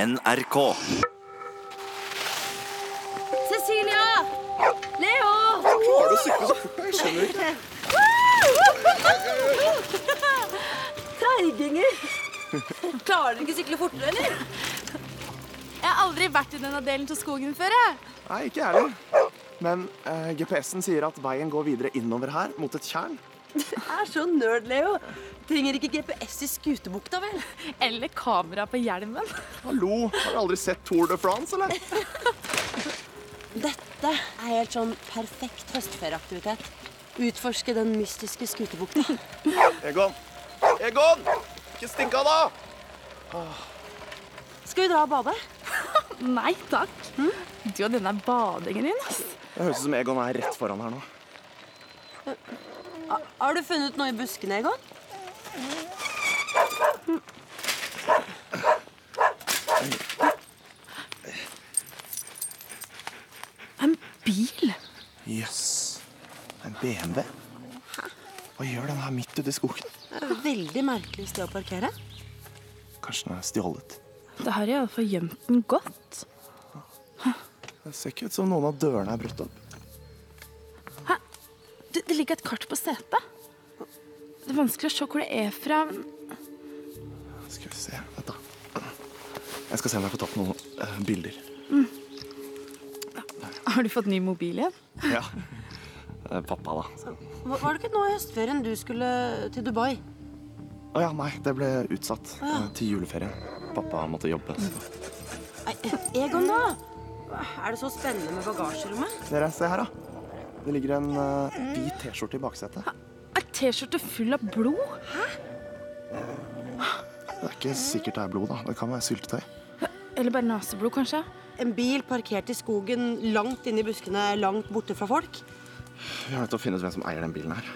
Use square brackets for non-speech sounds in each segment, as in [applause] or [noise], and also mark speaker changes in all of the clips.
Speaker 1: NRK.
Speaker 2: Cecilia! Leo!
Speaker 3: Klarer du å sykle så fort? Jeg skjønner ikke.
Speaker 4: [laughs]
Speaker 2: Treiginger! Klarer dere ikke å sykle fortere, eller?
Speaker 4: Jeg har aldri vært i denne delen av skogen før. jeg.
Speaker 3: Nei, ikke jeg heller. Men eh, GPS-en sier at veien går videre innover her, mot et tjern.
Speaker 2: Er så nerd, Leo. Trenger ikke GPS i Skutebukta, vel?
Speaker 4: Eller kamera på hjelmen.
Speaker 3: Hallo, har du aldri sett Tour de France, eller?
Speaker 2: Dette er helt sånn perfekt høstferieaktivitet. Utforske den mystiske skutebukta.
Speaker 3: Egon! Egon! Ikke stikk av, da!
Speaker 2: Skal vi dra og bade?
Speaker 4: [laughs] Nei takk. Du og denne badingen din. ass.
Speaker 3: Det høres ut som Egon er rett foran her nå.
Speaker 2: Har du funnet noe i buskene, Egon?
Speaker 4: En bil.
Speaker 3: Jøss. Yes. En BMW? Hva gjør den her midt ute i skogen?
Speaker 2: Veldig merkelig sted å parkere.
Speaker 3: Kanskje den er stjålet?
Speaker 4: Det har iallfall gjemt den godt.
Speaker 3: Det ser ikke ut som noen av dørene er brutt opp.
Speaker 4: Du, det ligger et kart på setet. Det er vanskelig å se hvor det er fra.
Speaker 3: Skal vi se Vent, da. Jeg skal se om jeg får tatt noen eh, bilder.
Speaker 4: Har du fått ny mobil igjen?
Speaker 3: Ja. Det er Eh, Pappa, da.
Speaker 2: Var var det ikke nå i høstferien du skulle til Dubai?
Speaker 3: Å ja, nei, det ble utsatt eh, til juleferien. Pappa måtte jobbe. så-
Speaker 2: Nei, Egon, da! Er det så spennende med bagasjerommet?
Speaker 3: Dere, se her, da. Det ligger en eh, hvit T-skjorte i baksetet.
Speaker 4: Ei T-skjorte full av blod.
Speaker 3: Det er ikke sikkert det er blod, da. Det kan være syltetøy.
Speaker 4: Eller bare naseblod, kanskje.
Speaker 2: En bil parkert i skogen, langt inne i buskene, langt borte fra folk.
Speaker 3: Vi er nødt til å finne ut hvem som eier den bilen her.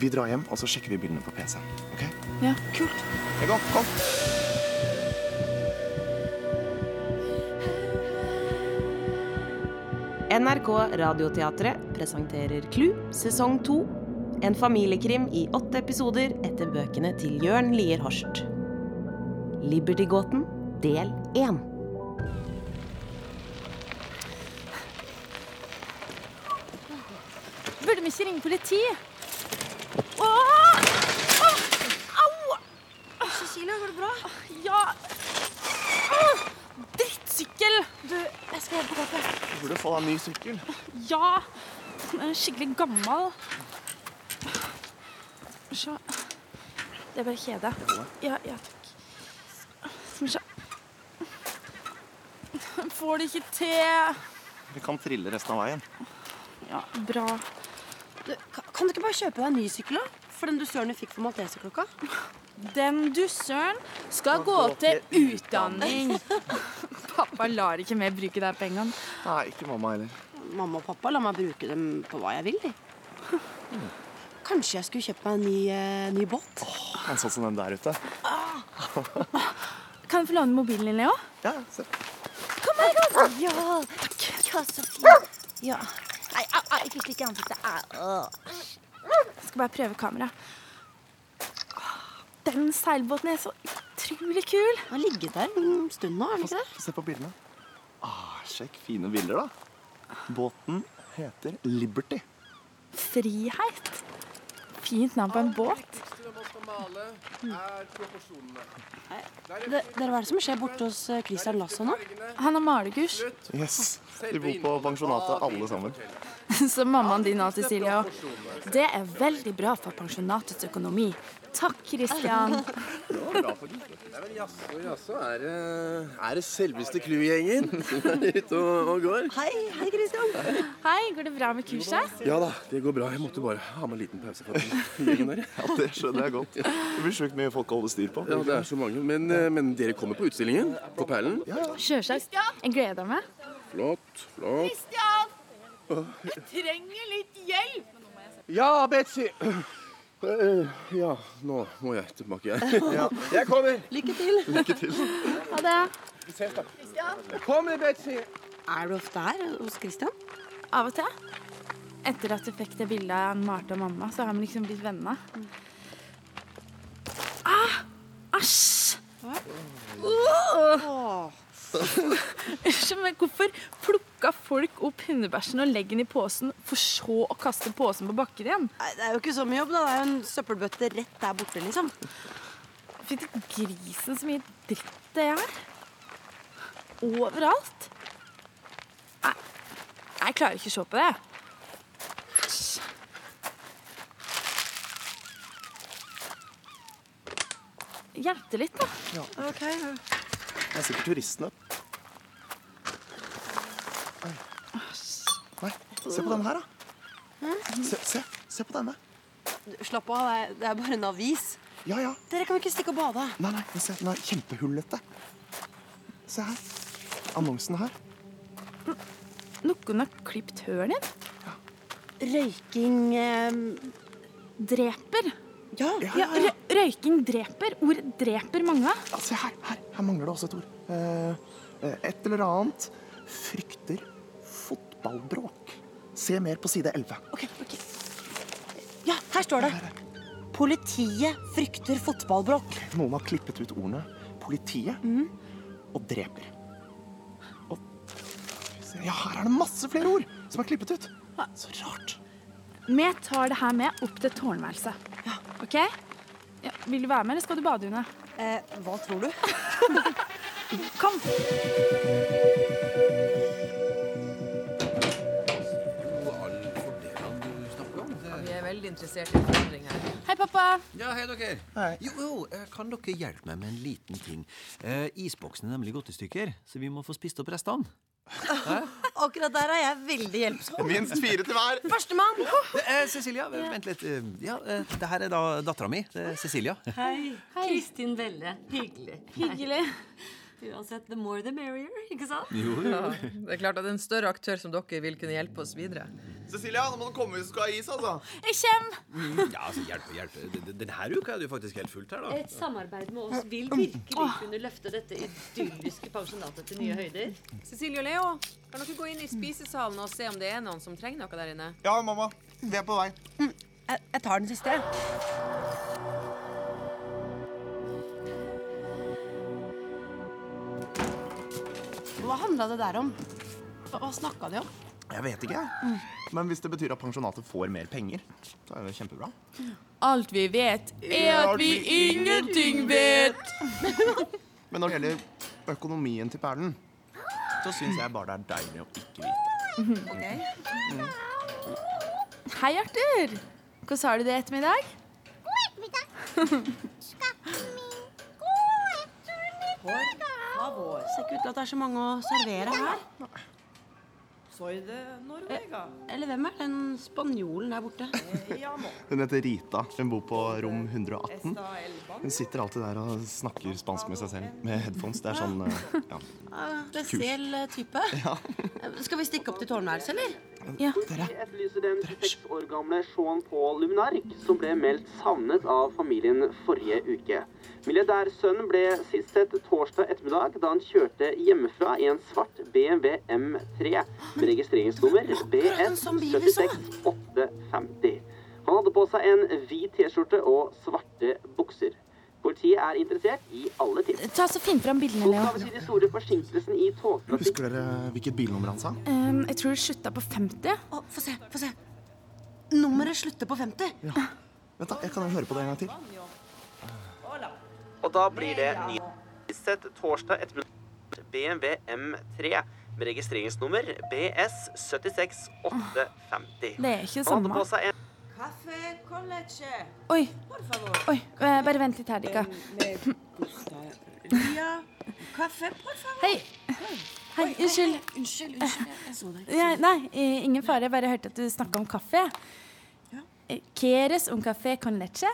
Speaker 3: Vi drar hjem, og så sjekker vi bildene på PC-en. OK?
Speaker 4: Ja.
Speaker 3: Kult. Egon, kom.
Speaker 5: NRK Radioteatret presenterer Klu sesong 2. En familiekrim i åtte episoder etter bøkene til Jørn Lier Horst. Libertygåten del 1.
Speaker 4: Burde vi ikke ringe politiet? Åh! Åh! Au!
Speaker 2: Cecilia, går det bra?
Speaker 4: Ja Åh! Drittsykkel! Du, jeg skal hjelpe deg. til.
Speaker 3: Du burde få deg en ny sykkel.
Speaker 4: Ja! Den er skikkelig gammel. Se. Det er bare kjede. Ja, ja takk. Skal vi se. Jeg Får det ikke til.
Speaker 3: Vi kan trille resten av veien.
Speaker 4: Ja, bra.
Speaker 2: Du, ka- kan du ikke bare kjøpe deg en ny sykkel? da? For den du søren fikk for Malteserklokka?
Speaker 4: Den dusøren skal gå til utdanning. [laughs] Pappa lar ikke meg bruke de pengene.
Speaker 3: Nei, ikke mamma heller.
Speaker 2: Mamma og pappa lar meg bruke dem på hva jeg vil. de. [laughs] Kanskje jeg skulle kjøpt meg en ny, eh, ny båt?
Speaker 3: En sånn som den der ute.
Speaker 4: Kan jeg få låne mobilen din, Leo?
Speaker 3: Ja, ja, se.
Speaker 6: Ja, takk. Ja, så fint. Ja. Nei, au, au, jeg fikk litt i ansiktet. Au.
Speaker 4: Jeg skal bare prøve kameraet. Den seilbåten er så utrolig kul.
Speaker 2: Den har ligget der en stund nå, er den
Speaker 3: Få
Speaker 2: ikke det?
Speaker 3: se- Se på bildene. Ah, sjekk fine bilder, da. Båten heter Liberty.
Speaker 4: Frihet. Fint navn på en båt.
Speaker 2: Dere, dere, Hva er det som skjer borte hos eh, Christian Lasso nå?
Speaker 4: Han har malegusj,
Speaker 3: Yes. De bor på pensjonatet, alle sammen.
Speaker 4: [laughs] som mammaen din og Cecilia. Det er veldig bra for pensjonatets økonomi. Takk, Christian.
Speaker 7: Jaså, jaså. Er det, er det selveste Clou-gjengen som er [laughs] ute og, og går?
Speaker 2: Hei, hei, Christian.
Speaker 4: [laughs] Hei, går det bra med kurset?
Speaker 7: Ja da, det går bra. Jeg måtte bare ha med en liten pause. for [laughs] den gjengen der.
Speaker 3: Ja, Det skjønner jeg godt. Det blir sjukt mye folk å holde styr på.
Speaker 7: Ja, det er så mange. Men, eh, men dere kommer på utstillingen på Perlen?
Speaker 4: Sjølsagt. Jeg gleder meg.
Speaker 7: Flott, flott.
Speaker 4: Trenger litt hjelp.
Speaker 7: Ja, Betzy! Ja, nå må jeg
Speaker 4: [laughs]
Speaker 7: tilbake. Jeg kommer!
Speaker 2: Lykke til.
Speaker 4: Ha det.
Speaker 7: Kommer, Betzy!
Speaker 2: Er du ofte her eh, hos Christian?
Speaker 4: Av og til. Etter at du fikk det bildet av Marte og mamma, så har vi liksom blitt venner. Ah, æsj! Åh,
Speaker 2: Åh,
Speaker 4: [laughs] Unnskyld, men hvorfor plukka folk opp hundebæsjen og legger den i posen, for så å kaste posen på bakken igjen?
Speaker 2: Nei, Det er jo ikke så mye jobb, da. Det er jo en søppelbøtte rett der borte, liksom.
Speaker 4: Fytti grisen, så mye dritt det er. Overalt. Nei, jeg klarer ikke å se på det. Æsj. Hjelpte litt, da.
Speaker 3: Det er sikkert turistene. Oi. Nei, se på denne her, da. Se, se, se på denne.
Speaker 2: Du, Slapp av, det er- det er bare en avis.
Speaker 3: Ja, ja.
Speaker 2: Dere kan jo ikke stikke og bade.
Speaker 3: Nei, nei, men se, den er kjempehullete. Se her. Annonsen her.
Speaker 4: Noen har klipt hølet ditt.
Speaker 2: Røyking eh,
Speaker 4: Dreper.
Speaker 2: Ja.
Speaker 4: Ja, rø røyking dreper. Ordet dreper mange.
Speaker 3: Ja, se her, her. Her mangler det også et ord. Eh, eh, et eller annet frykter fotballbråk. Se mer på side 11.
Speaker 2: Ok, ok. Ja, her står det. Politiet frykter fotballbråk.
Speaker 3: Noen har klippet ut ordene politiet og dreper. Og se, Ja, her er det masse flere ord som er klippet ut. Så rart.
Speaker 4: Vi tar det her med opp til tårnværelset. OK? Ja, vil du være med, eller skal du bade under?
Speaker 2: Eh, hva tror du?
Speaker 4: Kom.
Speaker 1: Vi er veldig interessert i forandring her.
Speaker 4: Hei, pappa.
Speaker 8: Ja, hei dere.
Speaker 3: Hei.
Speaker 8: Jo, jo, eh, kan dere hjelpe meg med en liten ting? Eh, isboksen er nemlig gått i stykker, så vi må få spist opp restene.
Speaker 2: [laughs] Akkurat der er jeg veldig hjelpsom.
Speaker 3: Minst fire til hver.
Speaker 2: Førstemann!
Speaker 8: Eh, Cecilia, eh, vent litt. Eh, Ja, eh, det her er da dattera mi, eh, Cecilia.
Speaker 9: Hei. Kristin Velle. Hyggelig.
Speaker 4: Hyggelig.
Speaker 9: Uansett, the more the merrier, ikke sant?
Speaker 1: Det er klart at en større aktør som dere vil kunne hjelpe oss videre.
Speaker 3: Cecilia, nå må du komme hvis du skal ha is, altså.
Speaker 4: Jeg kjem.
Speaker 8: Ja, altså, hjelp, hjelp. D- d- Denne uka er det jo faktisk helt fullt her, da.
Speaker 9: Et samarbeid med oss vil virkelig kunne løfte dette idylliske pensjonatet til nye høyder.
Speaker 1: Cecilie og Leo, kan dere gå inn i spisesalen og se om det er noen som trenger noe der inne?
Speaker 3: Ja, mamma. Vi er på vei.
Speaker 2: Jeg, jeg tar den siste. jeg. Hva handla det der om? Hva, hva snakka de om?
Speaker 3: Jeg vet ikke. jeg. Men hvis det betyr at pensjonatet får mer penger, så er det kjempebra.
Speaker 4: Alt vi vet, er at vi ingenting vet.
Speaker 3: Men når det gjelder økonomien til Perlen, så syns jeg bare det er deilig å ikke vite.
Speaker 4: Hei, Arthur. Hvordan har du det i ettermiddag?
Speaker 2: Det ser ikke ut til at det er så mange å servere her. Eller hvem er den spanjolen der borte?
Speaker 3: Hun heter Rita. Hun bor på rom 118. Hun sitter alltid der og snakker spansk med seg selv med headphones. Det er sånn eh, ja.
Speaker 2: Spesiell eh, type. Eh, Skal vi stikke opp til tårnværelset, eller?
Speaker 10: etterlyser den 26 år gamle Sean Paul Luminark, som ble meldt savnet av familien forrige uke. Milliardærsønnen ble sist sett torsdag ettermiddag da han kjørte hjemmefra i en svart BMW M3 med registreringsnummer BS 76850. Han hadde på seg en hvit T-skjorte og svarte bukser. Politiet er interessert i alle tips.
Speaker 4: Ta så Finn fram bildene,
Speaker 10: Så
Speaker 4: Leo.
Speaker 10: skal vi si de store forsinkelsene i togtrafikk
Speaker 3: Husker dere hvilket bilnummer han sa?
Speaker 4: Um, jeg tror det slutta på 50.
Speaker 2: Å, få se, få se. Nummeret slutter på 50.
Speaker 3: Vent da, Jeg kan jo høre på det en gang til.
Speaker 10: Og da blir det nyhetssett torsdag ettermiddag BMW M3 med registreringsnummer BS 76850.
Speaker 4: Det er ikke det
Speaker 10: Han hadde
Speaker 4: samme.
Speaker 10: på seg en
Speaker 4: Oi. Oi, eh, bare vent litt her, Dika. Hei. Hei, unnskyld.
Speaker 2: Unnskyld, unnskyld. jeg- Jeg så deg.
Speaker 4: Ja, nei, eh, ingen fare. Jeg bare hørte at du snakka om kaffe. Eh, Quieres un café con leche?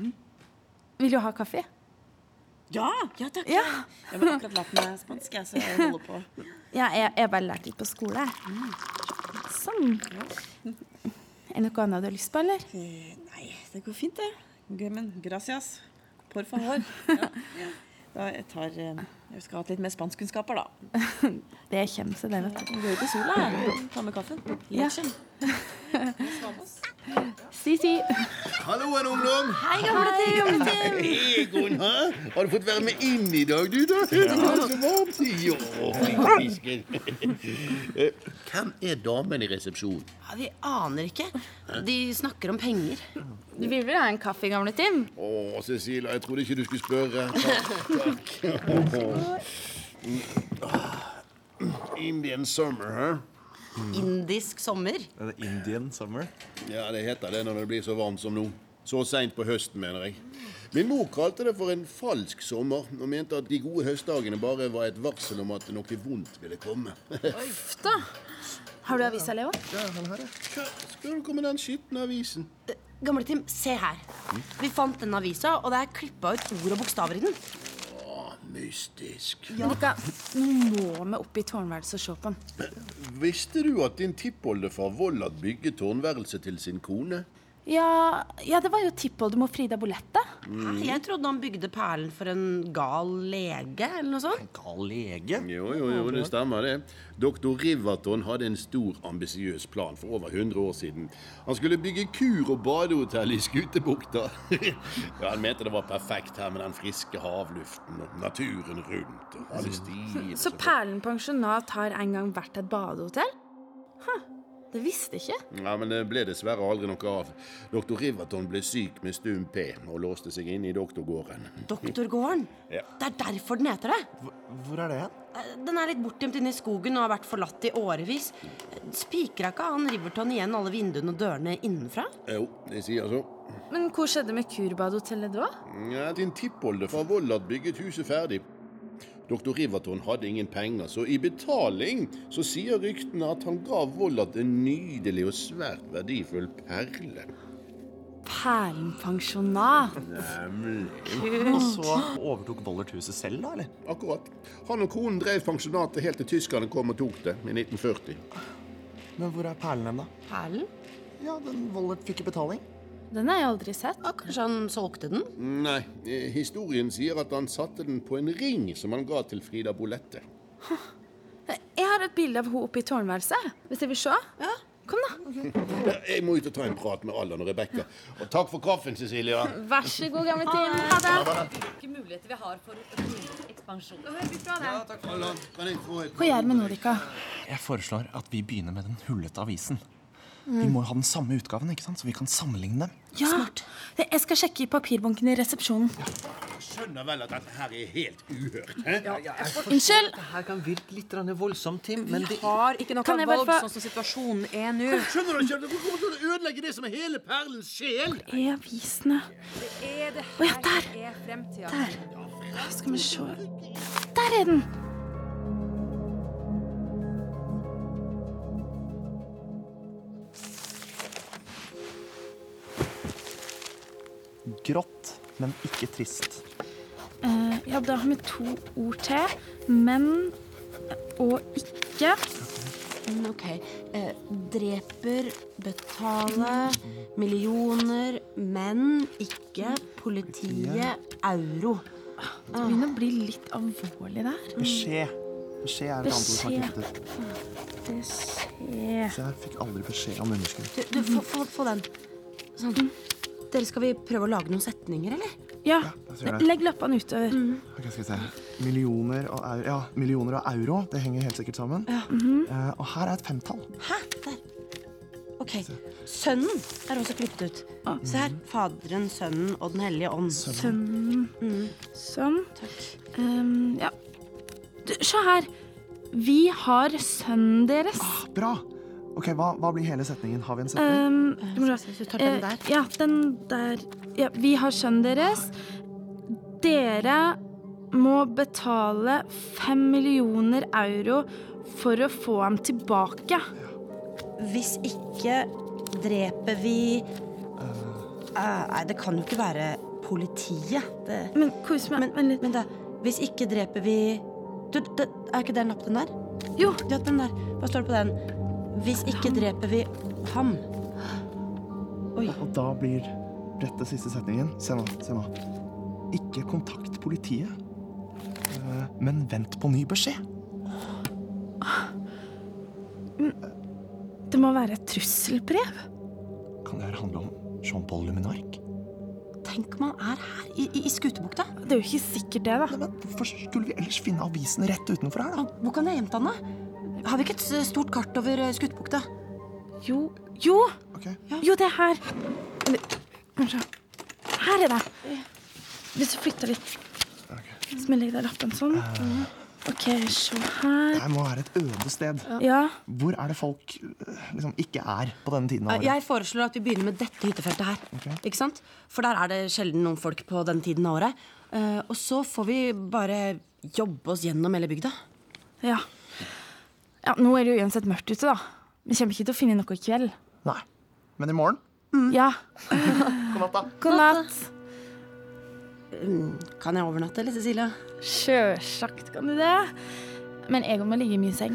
Speaker 4: Mm. Vil du ha kaffe?
Speaker 2: Ja, ja takk.
Speaker 4: Ja.
Speaker 2: Jeg har akkurat lært meg spansk, jeg, så jeg holder på.
Speaker 4: Ja, jeg jeg har bare lært litt på skole. Sånn. Er det noe annet du har lyst på, eller?
Speaker 11: Nei, det går fint, det. Gøy, Men gracias. Por favor.
Speaker 1: [laughs]
Speaker 11: Ja. Da jeg tar eh, Jeg skal ha hatt litt mer spanskkunnskaper, da.
Speaker 4: Det kommer seg, det, vet du.
Speaker 11: Gøy på sola. jeg. Ta med kaffen.
Speaker 4: Ja. [laughs]
Speaker 11: Lechen.
Speaker 4: Si, si.
Speaker 12: Halloen, ungdom.
Speaker 6: Hei, gamle ting, gamle ting.
Speaker 12: Hei, Gunnar. Har du fått være med inn i dag, du, da? Det var så varmt. Ja, flink fisken. Eh, Hvem er damen i resepsjonen?
Speaker 2: Ja, vi aner ikke. De snakker om penger.
Speaker 4: Du vil vel ha en kaffe, gamle Tim?
Speaker 12: Å, Cecilia, jeg trodde ikke du skulle spørre. Takk. takk. Indian summer, hæ?
Speaker 6: Indisk sommer.
Speaker 12: Er det Indian summer? Ja, det heter det når det blir så varmt som nå. Så seint på høsten, mener jeg. Min mor kalte det for en falsk sommer, og mente at de gode høstdagene bare var et varsel om at noe vondt ville komme.
Speaker 4: Uff da. Har du avisa, Leo?
Speaker 12: Ja, han har det. Hva skal du komme med den skitne avisen?
Speaker 4: Eh,
Speaker 2: Gamle Tim, se her. Vi fant denne avisa, og det er klippa ut ord og bokstaver i den.
Speaker 12: Mystisk.
Speaker 4: Men Rikka, nå må vi opp i tårnværelset og se på den.
Speaker 12: Visste du at din tippoldefar Vollard bygget tårnværelset til sin kone?
Speaker 4: Ja, ja, det var jo tippoldemor Frida Bolette.
Speaker 12: Mm.
Speaker 2: Jeg trodde han bygde perlen for en gal lege, eller noe sånt.
Speaker 12: Gal lege? Jo, jo, jo, det stemmer det. Doktor Riverton hadde en stor, ambisiøs plan for over 100 år siden. Han skulle bygge kur- og badehotell i Skutebukta. [laughs] ja, han mente det var perfekt her med den friske havluften og naturen rundt og alle stier.
Speaker 4: Så Perlen pensjonat har en gang vært et badehotell? Huh, det visste jeg ikke.
Speaker 12: Ja, men det ble dessverre aldri noe av. Doktor Riverton ble syk med stum P og låste seg inne i doktorgården.
Speaker 2: Doktorgården.
Speaker 12: Ja.
Speaker 2: Det er derfor den heter det.
Speaker 12: Hvor er det hen?
Speaker 2: Eh, Den er litt bortgjemt inne i skogen og har vært forlatt i årevis. Eh, Spikra ikke han Riverton igjen alle vinduene og dørene innenfra?
Speaker 12: Jo, de sier så.
Speaker 4: Men hvor skjedde med kurbadehotellet da?
Speaker 12: Ja, din tippoldefar Vollard bygget huset ferdig. Doktor Riverton hadde ingen penger, så i betaling så sier ryktene at han gav Vollard en nydelig og svært verdifull perle.
Speaker 4: Perlen pensjonat.
Speaker 12: Nemlig.
Speaker 4: Og så
Speaker 12: overtok Vollard huset selv, da? eller? Akkurat. Han og konen drev pensjonatet helt til tyskerne kom og tok det i 1940.
Speaker 3: Men hvor er perlen hen, da?
Speaker 2: Perlen?
Speaker 3: Ja, den Vollert fikk i betaling.
Speaker 4: Den har jeg aldri sett.
Speaker 2: kanskje han solgte den?
Speaker 12: Nei, eh, historien sier at han satte den på en ring som han ga til Frida Bolette.
Speaker 4: Jeg har et bilde av henne oppe i tårnværelset. Hvis jeg vil se. Kom, da.
Speaker 12: Ja, Jeg må ut og ta en prat med Allan og Rebekka. Og takk for kaffen, Cecilia.
Speaker 4: [laughs] Vær så god, gamle Tim. Ha det.
Speaker 9: Hvilke muligheter vi har for økonomisk ekspansjon. Ja, takk for
Speaker 12: Allan, kan jeg få et
Speaker 4: Hva gjør vi nå, Rikka?
Speaker 3: Jeg foreslår at vi begynner med den hullete avisen. Vi må jo ha den samme utgaven, ikke sant? så vi kan sammenligne dem.
Speaker 4: Ja, jeg skal sjekke i papirbunken i resepsjonen.
Speaker 12: Skjønner vel at dette her er helt uhørt. hæ?
Speaker 4: Unnskyld.
Speaker 8: Det her kan virke litt grann voldsomt, Tim, men
Speaker 1: Vi
Speaker 8: det
Speaker 1: har ikke noe
Speaker 8: Kan jeg bare
Speaker 1: valg
Speaker 8: få-
Speaker 1: sånn som situasjonen er nå.
Speaker 12: Skjønner du ikke? Dere kommer til å ødelegge det som er hele perlens sjel.
Speaker 4: I avisene.
Speaker 1: Det er det
Speaker 4: Å ja,
Speaker 1: her
Speaker 4: der.
Speaker 1: som er fremtida.
Speaker 4: Der. Skal vi se Der er den!
Speaker 3: Grått, men ikke trist.
Speaker 4: Eh, ja, da har vi to ord til. Men og ikke.
Speaker 2: Mm, ok. Eh, dreper, betale, millioner, menn, ikke, politiet, euro.
Speaker 4: Det begynner å bli litt alvorlig der.
Speaker 3: Beskjed. Beskjed er et annet ord som er
Speaker 4: Beskjed.
Speaker 3: knyttet.
Speaker 4: Beskjed.
Speaker 3: Så jeg fikk aldri beskjed om underskudd.
Speaker 2: Du, du få, få, få den. Sånn. Dere, skal vi prøve å lage noen setninger, eller?
Speaker 4: Ja.
Speaker 3: jeg ser det.
Speaker 4: Legg lappene utover.
Speaker 8: Mm.
Speaker 3: Ok, skal vi se. Millioner og euro. Ja, millioner og euro. Det henger helt sikkert sammen. Eh, og her er et femtall.
Speaker 2: Hæ? Der. Ok. Sønnen er også klippet ut. Se her. Faderen, Sønnen og Den hellige ånd.
Speaker 4: Sønnen. Sånn. Ehm, ja. Du, se her. Vi har sønnen deres.
Speaker 3: Bra. Ok, hva, hva blir hele setningen? Har vi en setning?
Speaker 4: Ehm, du må
Speaker 2: Hvis du tar
Speaker 4: Eh,
Speaker 2: den der.
Speaker 4: Ja, den der. Ja, vi har sønnen deres. Dere må betale fem millioner euro for å få ham tilbake.
Speaker 2: Hvis ikke dreper vi Eh, Nei, det kan jo ikke være politiet. Det...
Speaker 4: Men kos meg. Men,
Speaker 2: men da, hvis ikke dreper vi du, det, Er ikke det en lapp, den der?
Speaker 4: Jo.
Speaker 2: Ja, den der. Hva står det på den? Hvis ikke dreper vi ham.
Speaker 3: Og da blir rett til siste setningen. Se nå, se nå. Ikke kontakt politiet, eh, men vent på ny beskjed.
Speaker 4: Det må være et trusselbrev.
Speaker 3: Kan det her handle om Jean-Paul Luminark?
Speaker 4: Tenk man er her, i, Skutebukta. Det er jo ikke sikkert det, da.
Speaker 3: hvorfor skulle vi ellers finne avisen rett utenfor her,
Speaker 2: da? Hvor kan jeg gjemme den, da? Har vi ikke et s- stort kart over eh, Skutebukta?
Speaker 4: Jo Jo! Jo, det er her. Eller, kanskje. Her er det. Hvis du flytter litt Smeller jeg deg lappen sånn. OK, se her.
Speaker 3: Det her må være et øde sted.
Speaker 4: Ja.
Speaker 3: Hvor er det folk eh, liksom ikke er på denne tiden av
Speaker 2: Eh,
Speaker 3: året?
Speaker 2: Jeg foreslår at vi begynner med dette hyttefeltet her. Ikke sant? For der er det sjelden noen folk på den tiden av året. Eh, og så får vi bare jobbe oss gjennom hele bygda.
Speaker 4: Ja. ja. Nå er det jo uansett mørkt ute, da. Vi kommer ikke til å finne noe i kveld.
Speaker 3: Nei. Men i morgen?
Speaker 4: Ja.
Speaker 3: Mm. [laughs] God natt, da.
Speaker 4: God natt.
Speaker 2: Mm, Kan jeg overnatte, eller, Cecilia?
Speaker 4: Sjølsagt kan du det. Men jeg må ligge i min seng.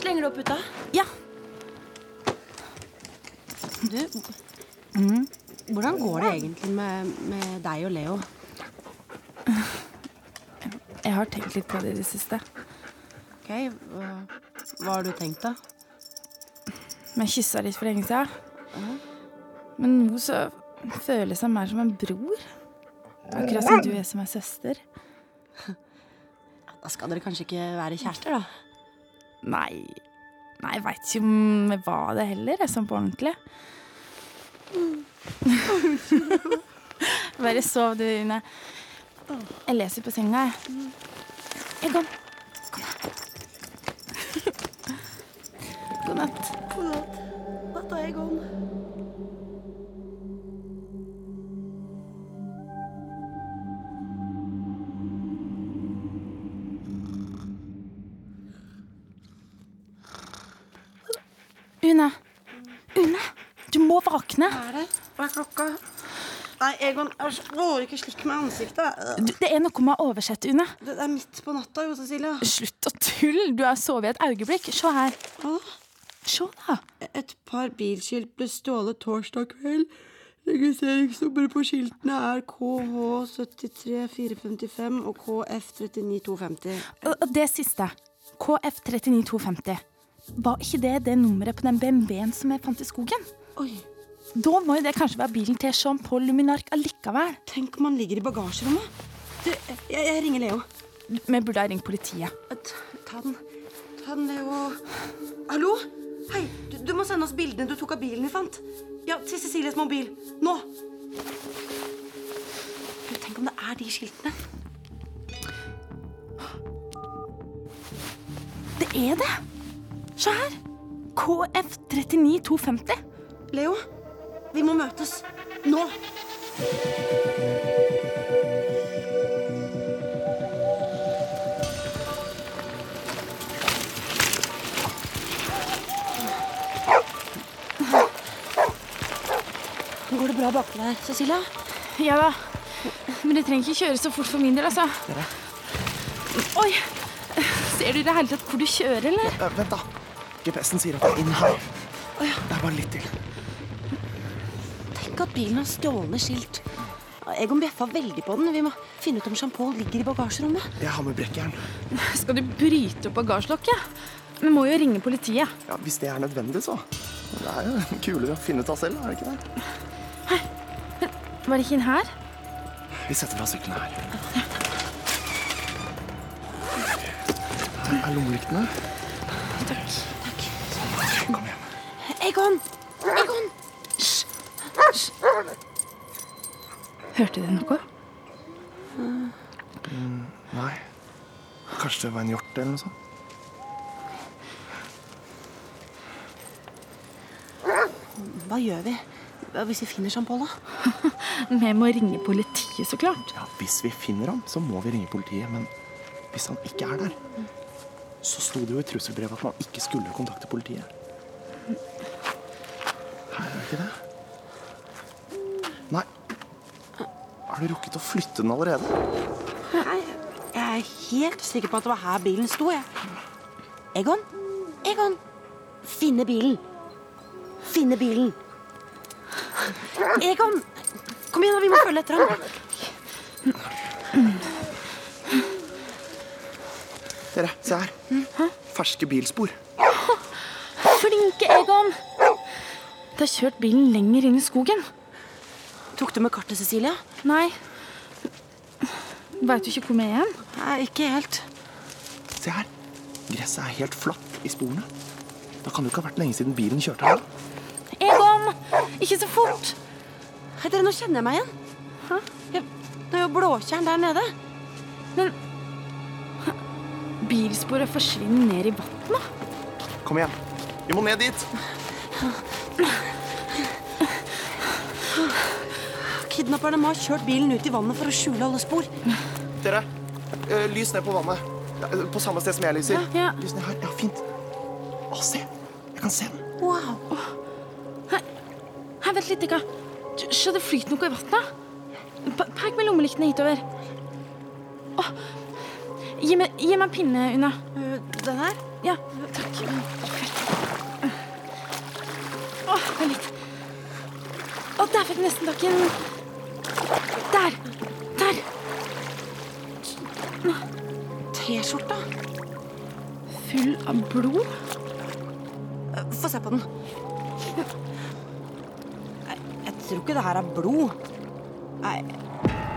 Speaker 6: Slenger du opp puta?
Speaker 4: Ja.
Speaker 2: Du, hvordan går det egentlig med, med deg og Leo?
Speaker 4: Jeg har tenkt litt på det i det siste.
Speaker 2: Ok, hva, hva har du tenkt, da?
Speaker 4: Vi kyssa litt for lenge siden. Men nå så føles han mer som en bror. Akkurat som du er som ei søster.
Speaker 2: Da skal dere kanskje ikke være kjærester, da?
Speaker 4: Nei, nei jeg veit ikke om jeg var det heller, jeg, sånn på ordentlig. [laughs] Bare sov du, Une. Jeg leser på senga, jeg. Jeg kom. God natt.
Speaker 6: God natt. Natt og jeg om.
Speaker 4: Une. Une, du må våkne.
Speaker 13: Hva er klokka? Nei, Egon, æsj, våger ikke slik med ansiktet. Øh.
Speaker 4: Du, det er noe med å oversette, Une.
Speaker 13: Det er midt på natta, jo, Cecilia.
Speaker 4: Slutt å tulle. Du har sovet et øyeblikk. Se her. Se, da.
Speaker 13: Et par bilskilt ble stjålet torsdag kveld. Registreringsnummeret på skiltene er KH73455 og KF39250.
Speaker 4: Og og det siste. KF39250. Var ikke det det nummeret på den BMW-en som jeg fant i skogen?
Speaker 13: Oi.
Speaker 4: Da må jo det kanskje være bilen til Jean-Paul Luminark allikevel.
Speaker 13: Tenk om han ligger i bagasjerommet. Du, jeg, jeg ringer Leo.
Speaker 4: Vi burde ha ringt politiet.
Speaker 13: Ta den. Ta den, Leo. Hallo? Hei, du, du må sende oss bildene du tok av bilen vi fant. Ja, til Cecilies mobil. Nå! Gud, tenk om det er de skiltene.
Speaker 4: Det er det! Se her. KF39250.
Speaker 13: Leo, vi må møtes. Nå!
Speaker 4: Går det bra baki der, Cecilia? Ja da. Men du trenger ikke kjøre så fort for min del, altså. Oi! Ser du i det hele tatt hvor du kjører, eller?
Speaker 3: Eh, vent, da. GPS-en sier at det er inn her. Det er bare litt til.
Speaker 2: Tenk at bilen har stjålne skilt. Egon bjeffa veldig på den. Vi må finne ut om Jean-Paul ligger i bagasjerommet.
Speaker 3: Jeg har med brekkjern.
Speaker 4: Skal du bryte opp bagasjelokket? Vi må jo ringe politiet.
Speaker 3: Ja, hvis det er nødvendig, så. Men Det er jo [laughs] kulere å finne ut av selv, er det ikke det?
Speaker 4: Var det ikke inn her?
Speaker 3: Vi setter fra syklene her. Her er lommelyktene.
Speaker 4: Takk.
Speaker 3: Kom igjen.
Speaker 4: Egon! Egon! Hysj! Hysj! Hørte du noe?
Speaker 3: Mm, nei. Kanskje det var en hjort eller noe sånt?
Speaker 2: Hva gjør vi Hva hvis vi finner Jean-Paul, da?
Speaker 4: Vi må ringe politiet, så klart.
Speaker 3: Ja, Hvis vi finner ham, så må vi ringe politiet. Men hvis han ikke er der, så sto det jo i trusselbrevet at man ikke skulle kontakte politiet. Her er det ikke det. Nei. Har du rukket å flytte den allerede?
Speaker 13: Nei, jeg er helt sikker på at det var her bilen sto, jeg.
Speaker 2: Egon? Egon! Finne bilen! Finne bilen! Egon! Kom igjen, da, vi må følge etter ham.
Speaker 3: Dere, se her. Ferske bilspor.
Speaker 4: Flinke Egon! Det har kjørt bilen lenger inn i skogen.
Speaker 2: Tok du med kartet, Cecilie?
Speaker 4: Nei. Veit du ikke hvor vi er hen?
Speaker 2: Nei, ikke helt.
Speaker 3: Se her. Gresset er helt flatt i sporene. Da kan det jo ikke ha vært lenge siden bilen kjørte her.
Speaker 4: Egon! Ikke så fort!
Speaker 2: Hei, dere, nå kjenner jeg meg igjen.
Speaker 4: Hæ?
Speaker 2: Det er jo blåtjern der nede.
Speaker 4: Men Bilsporet forsvinner ned i vannet.
Speaker 3: Kom igjen. Vi må ned dit.
Speaker 2: Kidnapperne må ha kjørt bilen ut i vannet for å skjule alle spor.
Speaker 3: Dere, eh, lys ned på vannet. Eh, På samme sted som jeg lyser. Lys ned her. Ja, fint. Å, se. Jeg kan se den.
Speaker 4: Wow. Her, her, vent litt, Ika. Se, se, det flyter noe i vannet. P- Pek med lommelyktene hitover. Åh, Gi meg, gi meg en pinne, Una.
Speaker 2: Øh,
Speaker 4: Den her? Ja, takk. Åh, vent litt. Å, der fikk jeg nesten tak i en Der! Der!
Speaker 2: T-skjorta?
Speaker 4: Full av blod?
Speaker 2: Eh, Få se på den. Nei, Jeg tror ikke det her er blod. Nei,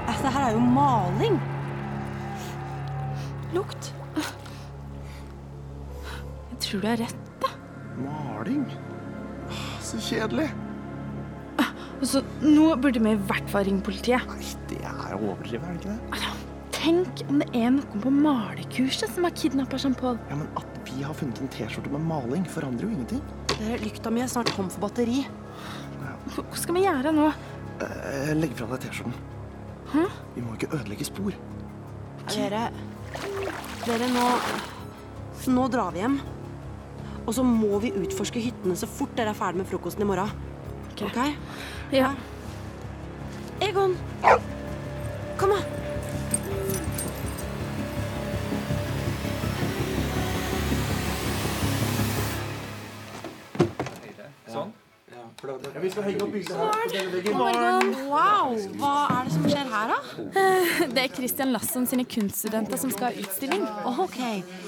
Speaker 2: altså, det her er jo maling. Lukt.
Speaker 4: Jeg tror du har rett.
Speaker 3: Maling? Å, Så kjedelig.
Speaker 4: Altså, nå burde vi i hvert fall ringe politiet.
Speaker 3: Det er å overdrive, er det ikke det?
Speaker 4: Tenk om det er noen på malekurset som har kidnappa Jean-Paul.
Speaker 3: Ja, men at vi har funnet en T-skjorte med maling, forandrer jo ingenting.
Speaker 2: Dere, Lykta mi er snart tom for batteri.
Speaker 4: Hva skal vi gjøre nå?
Speaker 3: Eh, Legg fra deg T-skjorten.
Speaker 4: Hæ?
Speaker 3: Vi må ikke ødelegge spor.
Speaker 2: Dere Dere, nå Nå drar vi hjem. Og så må vi utforske hyttene så fort dere er ferdig med frokosten i morgen. Ok?
Speaker 4: Ja.
Speaker 2: Egon! Kom, da!
Speaker 14: Sånn. Ja, for da,
Speaker 3: vi skal henge opp bildet
Speaker 4: Oh
Speaker 2: Wow! Hva er det som skjer her, da?
Speaker 4: Eh, Det er Christian Lasson sine kunststudenter som skal ha utstilling.
Speaker 2: OK.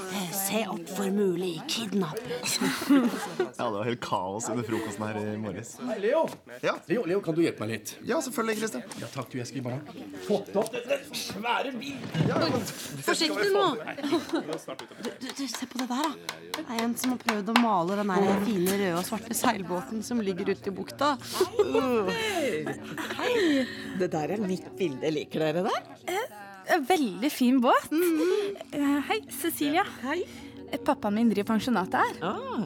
Speaker 2: Eh, Se opp for mulig kidnapp.
Speaker 15: Ja, det var helt kaos under frokosten her i morges.
Speaker 14: Hei, Leo.
Speaker 15: Ja.
Speaker 14: Leo, Leo, kan du hjelpe meg litt?
Speaker 15: Ja, selvfølgelig, Christian.
Speaker 14: Ja, takk, du. Jeg skal bare fått opp dette svære bildet.
Speaker 2: Forsiktig nå! Du, du, du, se på det der, da. Det er en som har prøvd å male den der fine røde og svarte seilbåten som ligger ute i bukta. Uh.
Speaker 11: Hei! Det der er mitt bilde. Liker dere det?
Speaker 4: Veldig fin båt.
Speaker 2: Mm-hmm.
Speaker 4: Eh, Hei, Cecilia. Hei. Pappaen min driver pensjonatet her.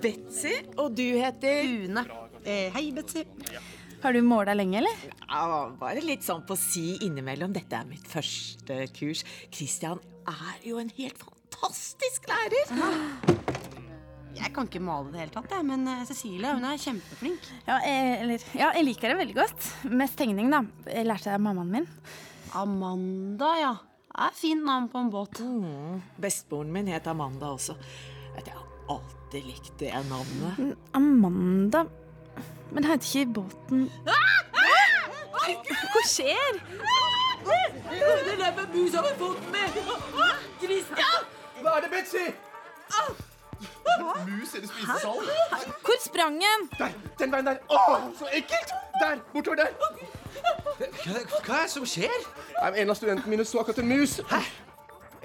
Speaker 11: Betsy, og du heter? Une. hei, Betsy.
Speaker 4: Har du måla lenge, eller?
Speaker 16: Eh, Ja, bare litt sånn på si innimellom. Dette er mitt første kurs. Christian er jo en helt fantastisk lærer.
Speaker 2: Jeg kan ikke male det hele tatt, jeg, men eh, Cecilie hun er kjempeflink.
Speaker 4: Ja, eh, eller, ja, jeg liker det veldig godt. Mest tegning, da. Jeg lærte det av mammaen min.
Speaker 2: Amanda, ja. Det er fint navn på en båt.
Speaker 16: Bestemoren min het Amanda også. Vet du, Jeg har alltid likt det navnet.
Speaker 4: Mm, Amanda Men det heter ikke båten Hva skjer?
Speaker 14: Det der med musa med foten min. Christian! Hva er det, Betsy?
Speaker 15: Mus i spisesalen.
Speaker 4: Hvor sprang den?
Speaker 14: Der, den veien der. Åh, så ekkelt! Der, bortover der. Hva, er det som skjer? En av studentene mine så akkurat en mus. Hæ?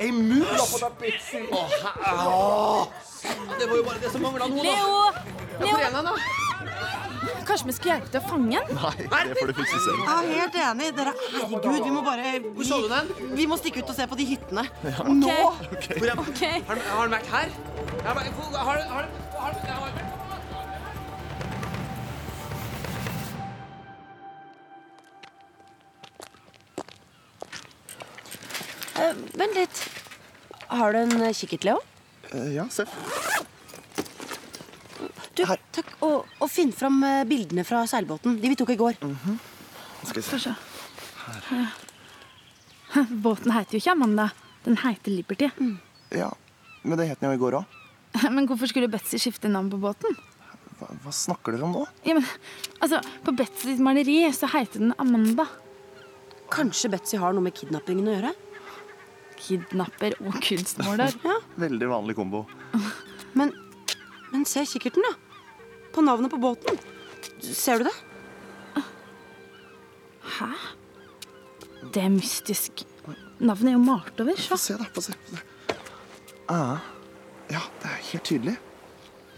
Speaker 14: Ei mus? La på deg, Betsy. Åh,
Speaker 8: Det var jo bare det som mangla nå, da.
Speaker 4: Leo!
Speaker 8: hvor er
Speaker 4: Leo! Kanskje vi skulle hjelpe til å fange den?
Speaker 15: Nei, det får du fikse selv.
Speaker 2: Jeg er helt enig. Dere, herregud, vi må bare Hvor så du den? Vi må stikke ut og se på de hyttene.
Speaker 15: Ja.
Speaker 2: Nå!
Speaker 14: Hvor er,
Speaker 4: [laughs]
Speaker 14: har, den- har den vært her? Har, den- hvor- har, den- har, den- har, den- har, den-
Speaker 2: Eh, vent litt. Har du en eh, kikkert, Leo?
Speaker 3: Eh, ja, se.
Speaker 2: Du, takk. Og, og finn fram eh, bildene fra seilbåten. De vi tok i går.
Speaker 3: Skal vi se.
Speaker 4: Båten heter jo ikke Amanda. Den heter Liberty. [laughs]
Speaker 3: Ja, men det het den jo i går òg.
Speaker 4: Men hvorfor skulle Betsy skifte navn på båten?
Speaker 3: Hva, hva snakker dere om nå?
Speaker 4: Ja, men, altså, På Betsys maleri så heter den Amanda.
Speaker 2: Kanskje Betsy har noe med kidnappingen å gjøre?
Speaker 4: kidnapper og kunstmåler.
Speaker 15: Veldig vanlig kombo.
Speaker 2: Men, men se kikkerten, da. På navnet på båten. Ser du det?
Speaker 4: Hæ? Det er mystisk. Navnet er jo malt over. Få
Speaker 3: se, da. Få se. Ah, ja, det er helt tydelig.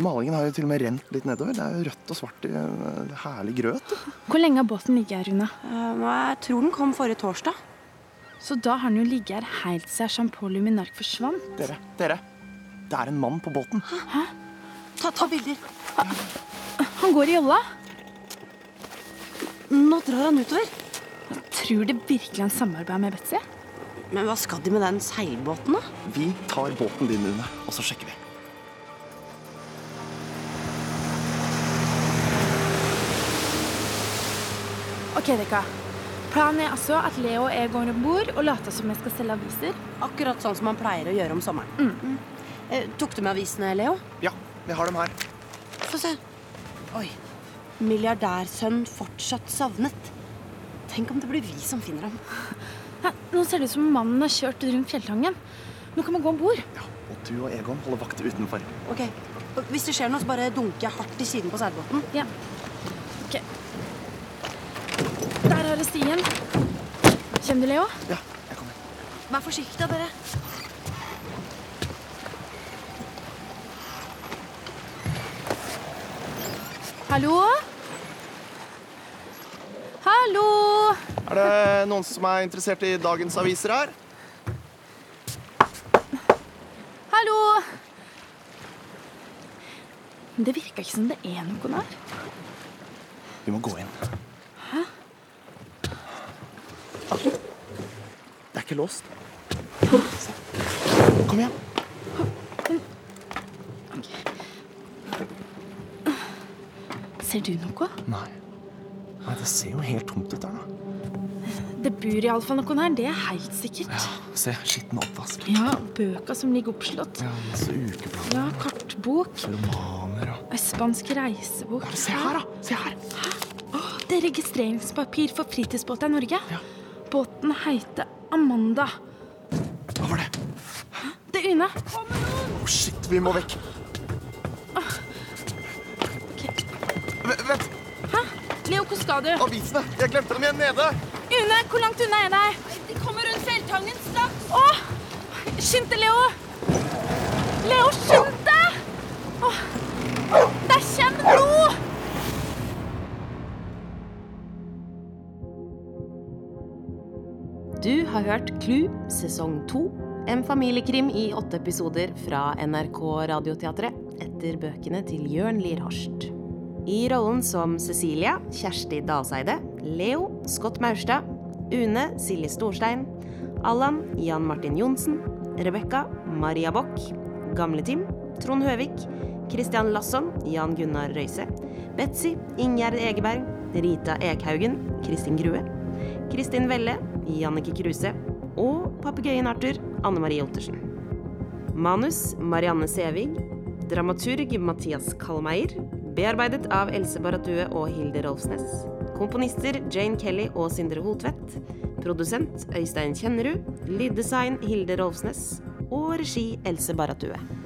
Speaker 3: Malingen har jo til og med rent litt nedover. Det er jo rødt og svart i en herlig grøt.
Speaker 4: Hvor lenge har båten ligget her, Rune?
Speaker 2: Eh, jeg tror den kom forrige torsdag.
Speaker 4: Så da har den jo ligget her helt siden Jean-Paul Luminark forsvant.
Speaker 3: Dere, dere. Det er en mann på båten.
Speaker 4: Hæ?
Speaker 2: Ta, ta bilder.
Speaker 4: Han går i jolla.
Speaker 2: Nå drar han utover.
Speaker 4: Tror det virkelig han samarbeider med Betzy?
Speaker 2: Men hva skal de med den seilbåten, da?
Speaker 3: Vi tar båten din, Rune, og så sjekker vi.
Speaker 4: Ok, Dekka. Planen er altså at Leo og jeg går om bord og later som jeg skal selge aviser.
Speaker 2: Akkurat sånn som man pleier å gjøre om sommeren. Mm. Eh, tok du med avisene, Leo?
Speaker 3: Ja, vi har dem her.
Speaker 2: Få se. Oi. Milliardærsønn fortsatt savnet. Tenk om det blir vi som finner ham.
Speaker 4: Hæ, nå ser det ut som mannen har kjørt rundt fjelltangen. Nå kan man gå om bord.
Speaker 3: Og du og Egon holder vakt utenfor.
Speaker 2: Ok, Hvis det skjer noe, så bare dunker jeg hardt i siden på seilbåten.
Speaker 4: Ja. Ok. Der er det stien. Kommer du, Leo?
Speaker 3: Ja,
Speaker 6: Vær forsiktig da, dere.
Speaker 4: Hallo? Hallo?
Speaker 3: Er det noen som er interessert i dagens aviser her?
Speaker 4: Hallo? Men Det virker ikke som det er noen her.
Speaker 3: Vi må gå inn.
Speaker 4: Hæ?
Speaker 3: Det er ikke låst. Kom igjen.
Speaker 4: Ser du noe?
Speaker 3: Nei. Nei, Det ser jo helt tomt ut der, da.
Speaker 4: Det bor iallfall noen her, det er helt sikkert.
Speaker 3: Se, skitten oppvask.
Speaker 4: Ja, bøker som ligger oppslått.
Speaker 3: Ja, masse ukeblader.
Speaker 4: Ja, kartbok.
Speaker 3: Romaner Altså, og
Speaker 4: Ei spansk reisebok.
Speaker 3: Se her, da! Se her.
Speaker 4: Det er registreringspapir for fritidsbåter i Norge. Båten heter Amanda. Hva var det? Det er Une.
Speaker 3: Å, shit, vi må vekk. V vent,
Speaker 4: Hæ? Leo, hvor skal du?
Speaker 3: Avisene! Jeg glemte dem igjen nede.
Speaker 4: Une, hvor langt unna er de? De kommer rundt fjelltangen straks. Åh! Skynd deg, Leo. Leo, skynd deg! Åh, Der kommer noe!
Speaker 5: Du har hørt Klu sesong 2, en familiekrim i åtte episoder fra NRK Radioteatret etter bøkene til Jørn Lier Horst. I rollen som Cecilia, Kjersti Dalseide, Leo, Scott Maurstad, Une, Silje Storstein, Allan, Jan Martin Johnsen, Rebekka, Maria Bock, Gamle-Tim, Trond Høvik, Christian Lasson, Jan Gunnar Røise, Betzy, Ingjerd Egeberg, Rita Ekhaugen, Kristin Grue, Kristin Velle, Jannike Kruse og papegøyen Arthur, Anne Marie Ottersen. Manus Marianne Sævig. Dramaturg Mathias Kalmeier. Bearbeidet av Else Baratue og Hilde Rolfsnes. Komponister Jane Kelly og Sindre Holtvedt. Produsent Øystein Kjennerud. Lyddesign Hilde Rolfsnes. Og regi Else Baratue.